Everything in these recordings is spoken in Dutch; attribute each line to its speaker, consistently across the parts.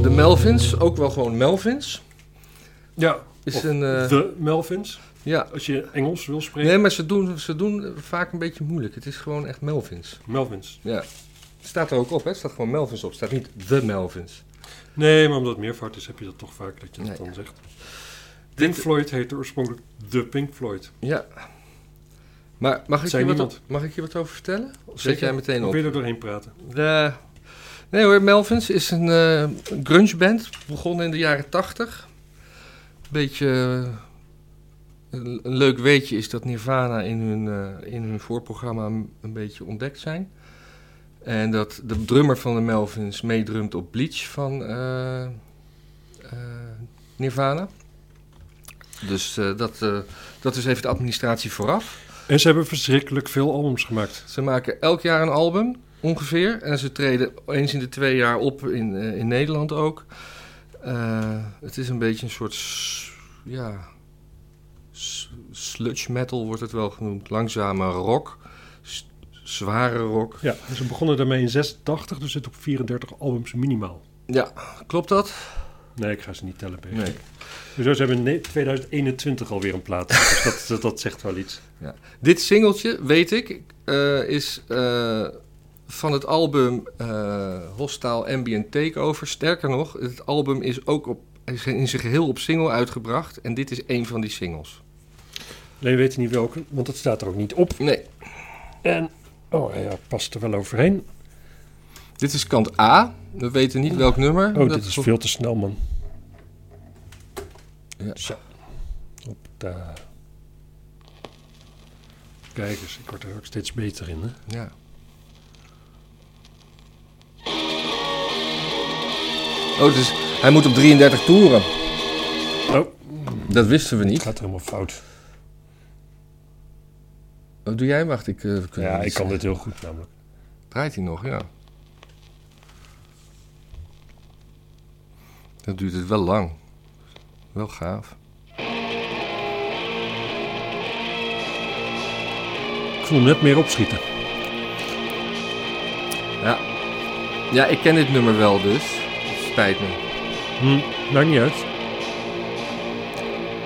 Speaker 1: Melvins, ook wel gewoon Melvins.
Speaker 2: Ja,
Speaker 1: Is
Speaker 2: Of
Speaker 1: een, eh,
Speaker 2: de Melvins.
Speaker 1: ja.
Speaker 2: Als je Engels wil spreken,
Speaker 1: Nee, maar ze doen, ze doen vaak een beetje moeilijk. Het is gewoon echt Melvins.
Speaker 2: Melvins.
Speaker 1: Ja. Staat er ook op, hè? Staat gewoon Melvins op. Staat niet de Melvins.
Speaker 2: Nee, maar omdat het meervoud is, heb je dat toch vaak dat je dat
Speaker 1: Nee.
Speaker 2: dan zegt. Pink
Speaker 1: Dit,
Speaker 2: Floyd heette oorspronkelijk de Pink Floyd.
Speaker 1: ja. Maar mag ik,
Speaker 2: Zei
Speaker 1: je wat,
Speaker 2: niemand.
Speaker 1: mag ik je wat over vertellen? Of zet
Speaker 2: Zeker.
Speaker 1: jij meteen op?
Speaker 2: Probeer er doorheen praten.
Speaker 1: De- nee hoor, Melvins is een eh grungeband. Begonnen in de jaren 80. Beetje... eh, Een, een leuk weetje is dat Nirvana in hun, eh, in hun voorprogramma een een beetje ontdekt zijn. En dat de drummer van de Melvins meedrumt op Bleach van eh, eh, Nirvana. Dus eh, dat, eh, dat is even de administratie vooraf.
Speaker 2: En ze hebben verschrikkelijk veel albums gemaakt.
Speaker 1: Ze maken elk jaar een album, ongeveer. En ze treden eens in de twee jaar op in, eh, in Nederland ook. Eh, het is een beetje een soort. s- Ja. s- Sludge metal wordt het wel genoemd. Langzame rock. s- Zware rock.
Speaker 2: Ja, ze begonnen daarmee in 86, dus zit op 34 albums minimaal.
Speaker 1: Ja, klopt dat?
Speaker 2: Nee, ik ga ze niet tellen. Peter.
Speaker 1: Nee.
Speaker 2: Dus ze hebben in ne- 2021 alweer een plaat. Dus dat, dat, dat zegt wel iets.
Speaker 1: Dit singeltje, weet ik, eh, is eh, van het album eh, Hostile Ambient Takeover. Sterker nog, het album is ook op, is in zijn geheel op single uitgebracht. En dit is een van die singles.
Speaker 2: Alleen we weten niet welke, want dat staat er ook niet op.
Speaker 1: Nee,
Speaker 2: En, oh ja, past er wel overheen. Oh,
Speaker 1: dit is kant A. We weten niet welk nummer.
Speaker 2: Oh,
Speaker 1: Dat
Speaker 2: dit is
Speaker 1: vol-
Speaker 2: veel te snel, man.
Speaker 1: Ja.
Speaker 2: Zo. Op daar. Kijk eens, ik word er ook steeds beter in, hè.
Speaker 1: Ja. Oh, dus hij moet op 33 toeren.
Speaker 2: Oh,
Speaker 1: Dat wisten we
Speaker 2: het
Speaker 1: niet.
Speaker 2: gaat helemaal fout.
Speaker 1: Wat doe jij? Wacht, ik... eh, we kunnen
Speaker 2: Ja,
Speaker 1: niet
Speaker 2: ik kan
Speaker 1: zeggen.
Speaker 2: dit heel goed namelijk.
Speaker 1: Draait hij nog, ja. Dat duurt het wel lang. Wel gaaf.
Speaker 2: Ik voel hem net meer opschieten.
Speaker 1: Ja. Ja, ik ken dit nummer wel dus. Het spijt me.
Speaker 2: Hm, maakt niet uit.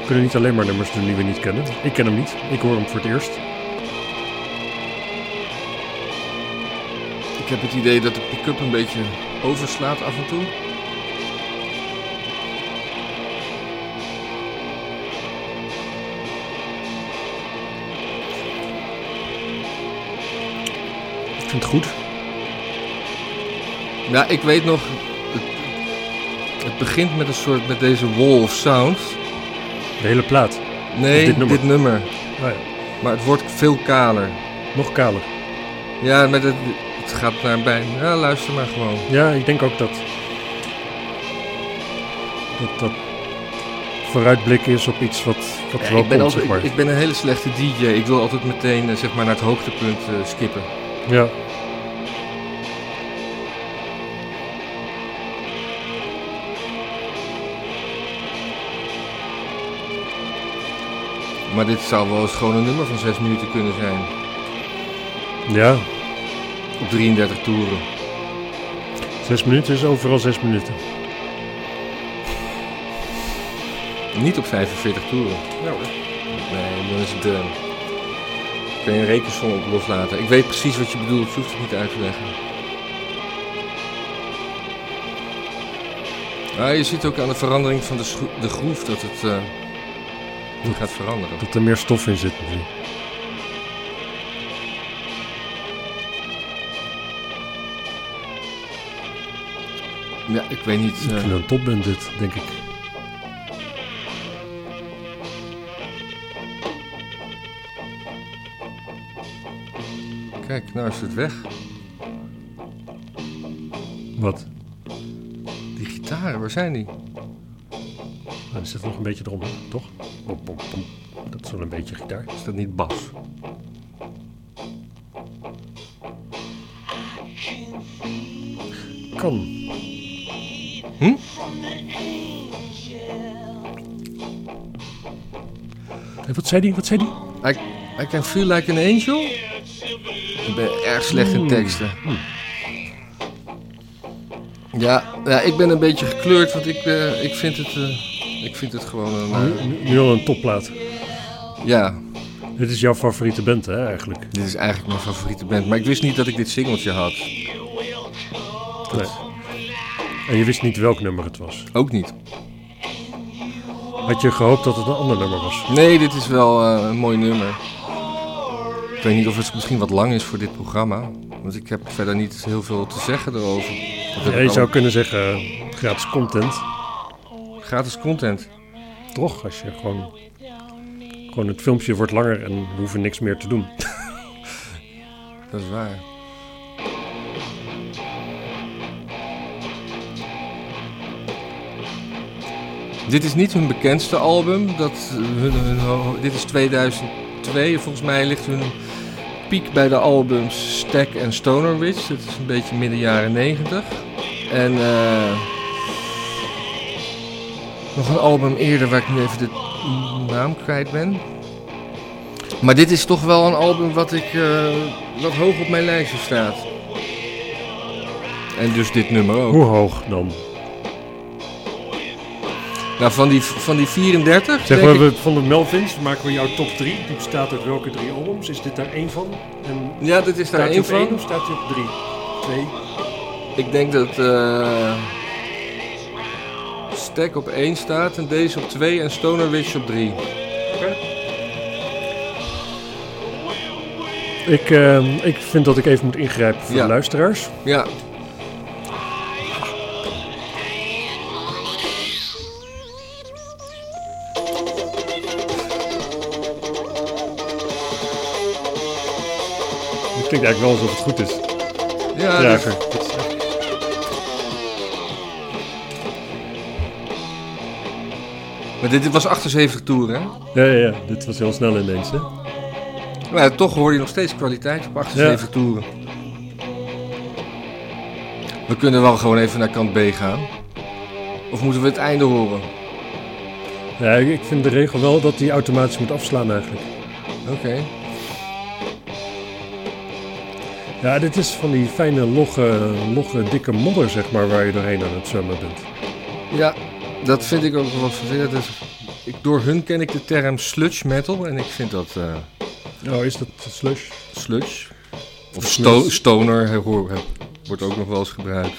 Speaker 2: We kunnen niet alleen maar nummers doen die we niet kennen. Ik ken hem niet. Ik hoor hem voor het eerst.
Speaker 1: Ik heb het idee dat de pick-up een beetje overslaat af en toe.
Speaker 2: Ik vind het goed.
Speaker 1: Ja, ik weet nog... Het, het begint met een soort... met deze wall of sound.
Speaker 2: De hele plaat.
Speaker 1: Nee,
Speaker 2: Dit
Speaker 1: dit
Speaker 2: nummer.
Speaker 1: nummer.
Speaker 2: Nou ja,
Speaker 1: Maar het wordt veel kaler.
Speaker 2: nog kaler.
Speaker 1: Ja, met het, het gaat naar bij... Ja, luister maar gewoon.
Speaker 2: Ja, ik denk ook dat. dat dat vooruitblik is op iets wat, wat
Speaker 1: Ja,
Speaker 2: er wel
Speaker 1: ik, ben
Speaker 2: komt,
Speaker 1: altijd,
Speaker 2: zeg maar.
Speaker 1: ik, ik ben een hele slechte DJ. Ik wil altijd meteen eh, zeg maar, naar het hoogtepunt eh, skippen.
Speaker 2: Ja.
Speaker 1: Maar dit zou wel eens gewoon een nummer van 6 minuten kunnen zijn.
Speaker 2: ja,
Speaker 1: Op 33 toeren.
Speaker 2: zes minuten is overal zes minuten.
Speaker 1: Niet op 45 toeren.
Speaker 2: Ja hoor.
Speaker 1: Nee, dan is het dun. Kun je een rekensom op loslaten. Ik weet precies wat je bedoelt, je hoeft het niet uit te leggen. Ah, je ziet ook aan de verandering van de, schro- de groef dat het eh, gaat veranderen.
Speaker 2: Dat er meer stof in zit misschien.
Speaker 1: Ja, ik weet niet.
Speaker 2: Ik
Speaker 1: eh,
Speaker 2: vind het een topband dit, denk ik.
Speaker 1: kijk, nou is het weg.
Speaker 2: Wat?
Speaker 1: Die gitaren, waar zijn die?
Speaker 2: Nou, er zit nog een beetje eronder, toch? Pom, pom, pom. Dat is wel een beetje gitaar.
Speaker 1: Is dat niet bas?
Speaker 2: Kan. Hé, wat zei die? Wat zei die?
Speaker 1: I, I can feel like an angel? Ik ben erg slecht in teksten. Ja, ja, ik ben een beetje gekleurd, want ik, eh, ik, vind, het, eh, ik vind het gewoon een... eh,
Speaker 2: Nu, nu- nu al een topplaat.
Speaker 1: ja,
Speaker 2: Dit is jouw favoriete band, hè, eigenlijk?
Speaker 1: dit is eigenlijk mijn favoriete band. Maar ik wist niet dat ik dit singeltje had.
Speaker 2: Nee. En je wist niet welk nummer het was.
Speaker 1: Ook niet.
Speaker 2: Had je gehoopt dat het een ander nummer was?
Speaker 1: Nee, dit is wel eh, een mooi nummer. Ik weet niet of het misschien wat lang is voor dit programma. Want ik heb verder niet heel veel te zeggen erover. Dat heb
Speaker 2: Ja,
Speaker 1: ik
Speaker 2: je
Speaker 1: al-
Speaker 2: zou kunnen zeggen, eh, gratis content.
Speaker 1: Gratis content.
Speaker 2: Toch, als je gewoon... Gewoon het filmpje wordt langer en we hoeven niks meer te doen.
Speaker 1: Dat is waar. Dit is niet hun bekendste album. Dat, eh, hun, hun ho- dit is 2002. Volgens mij ligt hun piek bij de albums Stack en Stoner Witch. Dat is een beetje midden jaren 90. En eh, nog een album eerder waar ik nu even de naam kwijt ben. Maar dit is toch wel een album wat, ik, eh, wat hoog op mijn lijstje staat. En dus dit nummer ook.
Speaker 2: Hoe hoog dan?
Speaker 1: Nou, van die, van die 34
Speaker 2: Zeg
Speaker 1: denk
Speaker 2: maar,
Speaker 1: ik-
Speaker 2: we- van de Melvins maken we jouw top 3. Die bestaat uit welke drie albums? Is dit daar één van? En
Speaker 1: Ja, dit is daar
Speaker 2: staat hij
Speaker 1: één
Speaker 2: op één
Speaker 1: van.
Speaker 2: of staat hij op drie? Twee?
Speaker 1: Ik denk dat eh Stack op 1 staat en deze op 2 en Stoner Witch op 3.
Speaker 2: Ik, eh, ik vind dat ik even moet ingrijpen voor
Speaker 1: Ja.
Speaker 2: de luisteraars.
Speaker 1: Ja,
Speaker 2: Het klinkt eigenlijk wel alsof het goed is.
Speaker 1: ja, dit-
Speaker 2: Ruiger.
Speaker 1: maar dit was 78 toeren. hè?
Speaker 2: Ja, ja, ja, dit was heel snel ineens. Hè?
Speaker 1: Maar ja, toch hoor je nog steeds kwaliteit op 78 toeren. We kunnen wel gewoon even naar kant B gaan. Of moeten we het einde horen?
Speaker 2: Ja, ik ik vind de regel wel dat die automatisch moet afslaan eigenlijk.
Speaker 1: Oké.
Speaker 2: Ja, dit is van die fijne, logge, logge dikke modder, zeg maar, waar je doorheen aan het zwemmen bent.
Speaker 1: Ja, dat vind ik ook wel vervelend. Dat is- Ik, door hun ken ik de term sludge metal en ik vind dat eh,
Speaker 2: Oh, is dat slush?
Speaker 1: sludge. Of
Speaker 2: Sludge.
Speaker 1: sto- stoner hè, hoor- hè, wordt ook nog wel eens gebruikt.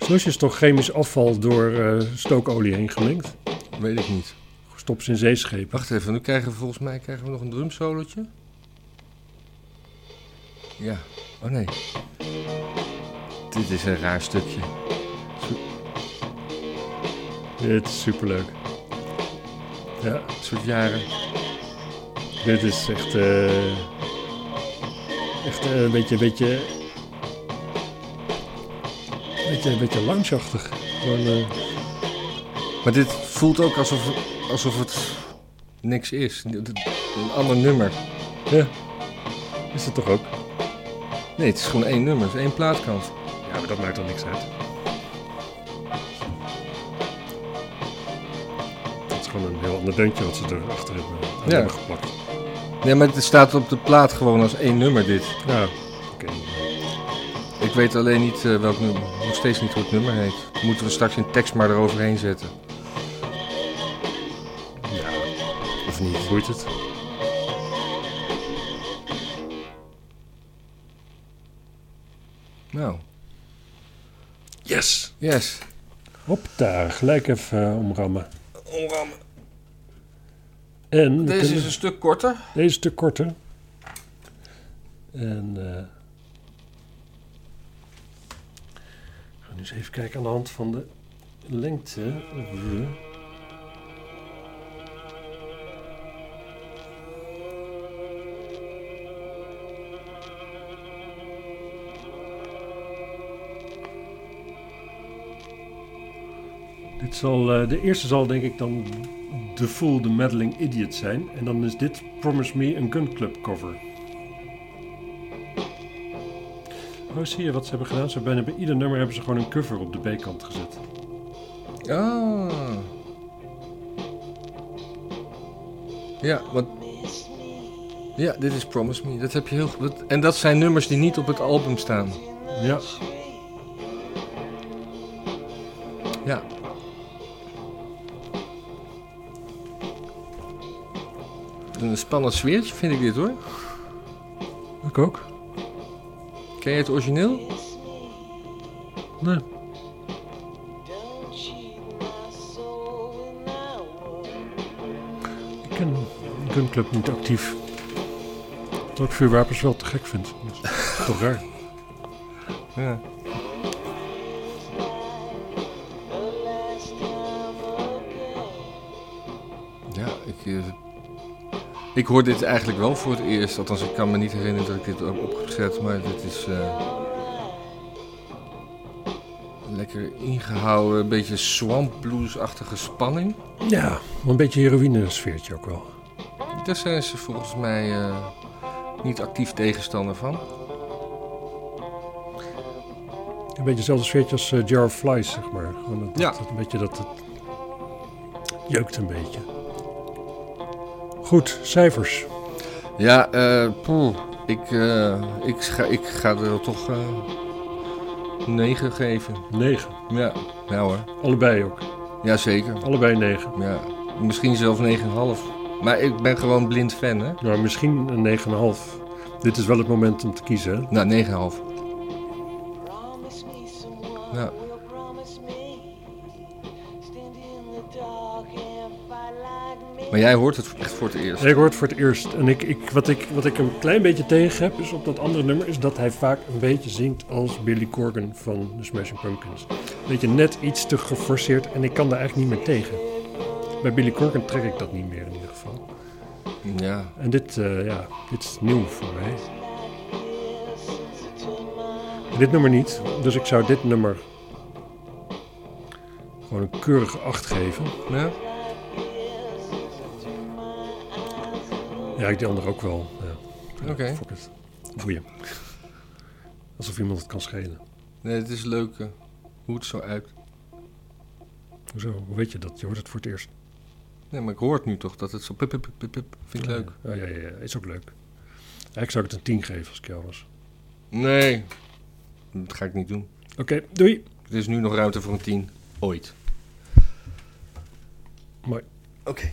Speaker 2: Slush is toch chemisch afval door eh, stookolie heen gemengd?
Speaker 1: Weet ik niet.
Speaker 2: Gestopt in zeeschepen.
Speaker 1: Wacht even, nu krijgen we volgens mij krijgen we nog een drumsolotje. Ja, oh nee. Dit is een raar stukje.
Speaker 2: Dit is superleuk. Ja,
Speaker 1: Een soort jaren.
Speaker 2: dit is echt... eh, echt eh, een beetje... Een beetje, een beetje, een beetje loungeachtig. Gewoon... eh,
Speaker 1: Maar dit voelt ook alsof, alsof het niks is. Een ander nummer.
Speaker 2: Ja, is het toch ook?
Speaker 1: Nee, het is gewoon één nummer, het is één plaatkant.
Speaker 2: Ja, maar dat maakt dan niks uit. Het is gewoon een heel ander deuntje wat ze erachter hebben, aan
Speaker 1: Ja.
Speaker 2: hebben geplakt.
Speaker 1: Nee, maar het staat op de plaat gewoon als één nummer dit.
Speaker 2: Ja, oké. eh,
Speaker 1: Ik weet alleen niet eh, welk nummer, nog steeds niet hoe het nummer heet. Moeten we straks in tekst maar eroverheen zetten.
Speaker 2: Ja,
Speaker 1: Of niet?
Speaker 2: boeit het.
Speaker 1: Nou,
Speaker 2: Yes!
Speaker 1: yes.
Speaker 2: Hop daar, gelijk even eh, omrammen.
Speaker 1: Omrammen.
Speaker 2: En we
Speaker 1: Deze
Speaker 2: kunnen-
Speaker 1: is een stuk korter.
Speaker 2: deze is te korter. En... eh, we gaan nu eens even kijken aan de hand van de lengte. of we- Dit zal, eh, de eerste zal denk ik dan The Fool, The Meddling Idiot zijn. En dan is dit Promise Me een Gun Club cover. Oh, zie je wat ze hebben gedaan? Ze hebben bijna bij ieder nummer hebben ze gewoon een cover op de B-kant gezet.
Speaker 1: Ah. Ja, want... Ja, dit is Promise Me. Dat heb je heel goed. En dat zijn nummers die niet op het album staan.
Speaker 2: Ja.
Speaker 1: Ja. Een spannend sfeertje vind ik dit hoor.
Speaker 2: Ik ook.
Speaker 1: Ken je het origineel?
Speaker 2: Nee. Ik ken Gunclub niet actief. Wat ik vuurwapens wel te gek vind. Dat is toch raar.
Speaker 1: Ja. Ja, ik, eh, ik hoor dit eigenlijk wel voor het eerst. Althans, ik kan me niet herinneren dat ik dit heb opgezet, maar dit is eh, lekker ingehouden, een beetje swamp blues-achtige spanning.
Speaker 2: Ja, een beetje heroïne sfeertje ook wel.
Speaker 1: Daar zijn ze volgens mij eh, niet actief tegenstander van.
Speaker 2: Een beetje hetzelfde sfeertje als eh, Jar of Flies, zeg maar. Gewoon dat,
Speaker 1: Ja.
Speaker 2: dat- een beetje dat het jeukt een beetje. Goed, cijfers.
Speaker 1: Ja, eh, poeh, ik, eh, ik, ga, ik ga er wel toch eh 9 geven.
Speaker 2: 9.
Speaker 1: Ja, ja hoor.
Speaker 2: Allebei ook.
Speaker 1: Jazeker.
Speaker 2: Allebei 9.
Speaker 1: Ja, misschien zelfs 9,5. Maar ik ben gewoon blind fan, hè?
Speaker 2: Nou, misschien een 9,5. Dit is wel het moment om te kiezen, hè?
Speaker 1: Nou, 9,5. Ja. Maar jij hoort het echt voor het eerst.
Speaker 2: Ik hoor het voor het eerst. En ik, ik, wat, ik, wat ik een klein beetje tegen heb is op dat andere nummer, is dat hij vaak een beetje zingt als Billy Corgan van de Smashing Pumpkins. Beetje net iets te geforceerd en ik kan daar eigenlijk niet meer tegen. Bij Billy Corgan trek ik dat niet meer in ieder geval.
Speaker 1: Ja.
Speaker 2: En dit, eh, ja, dit is nieuw voor mij. En dit nummer niet, dus ik zou dit nummer gewoon een keurige 8 geven.
Speaker 1: ja.
Speaker 2: Ja, ik die andere ook wel. Ja. Ja,
Speaker 1: Oké.
Speaker 2: Fuck it. Boeien. Alsof iemand het kan schelen.
Speaker 1: Nee, het is leuk eh, hoe het zo uit.
Speaker 2: Hoezo? Hoe weet je dat? Je hoort het voor het eerst.
Speaker 1: Nee, maar ik hoor het nu toch dat het zo pip, pip, pip, pip, pip. Vind ik leuk.
Speaker 2: Ja, ja, ja, ja. Is ook leuk. Eigenlijk zou ik het een 10 geven als ik jou was.
Speaker 1: Nee, dat ga ik niet doen.
Speaker 2: Oké, doei.
Speaker 1: Er is nu nog ruimte voor een 10. Ooit.
Speaker 2: Mooi.
Speaker 1: Oké.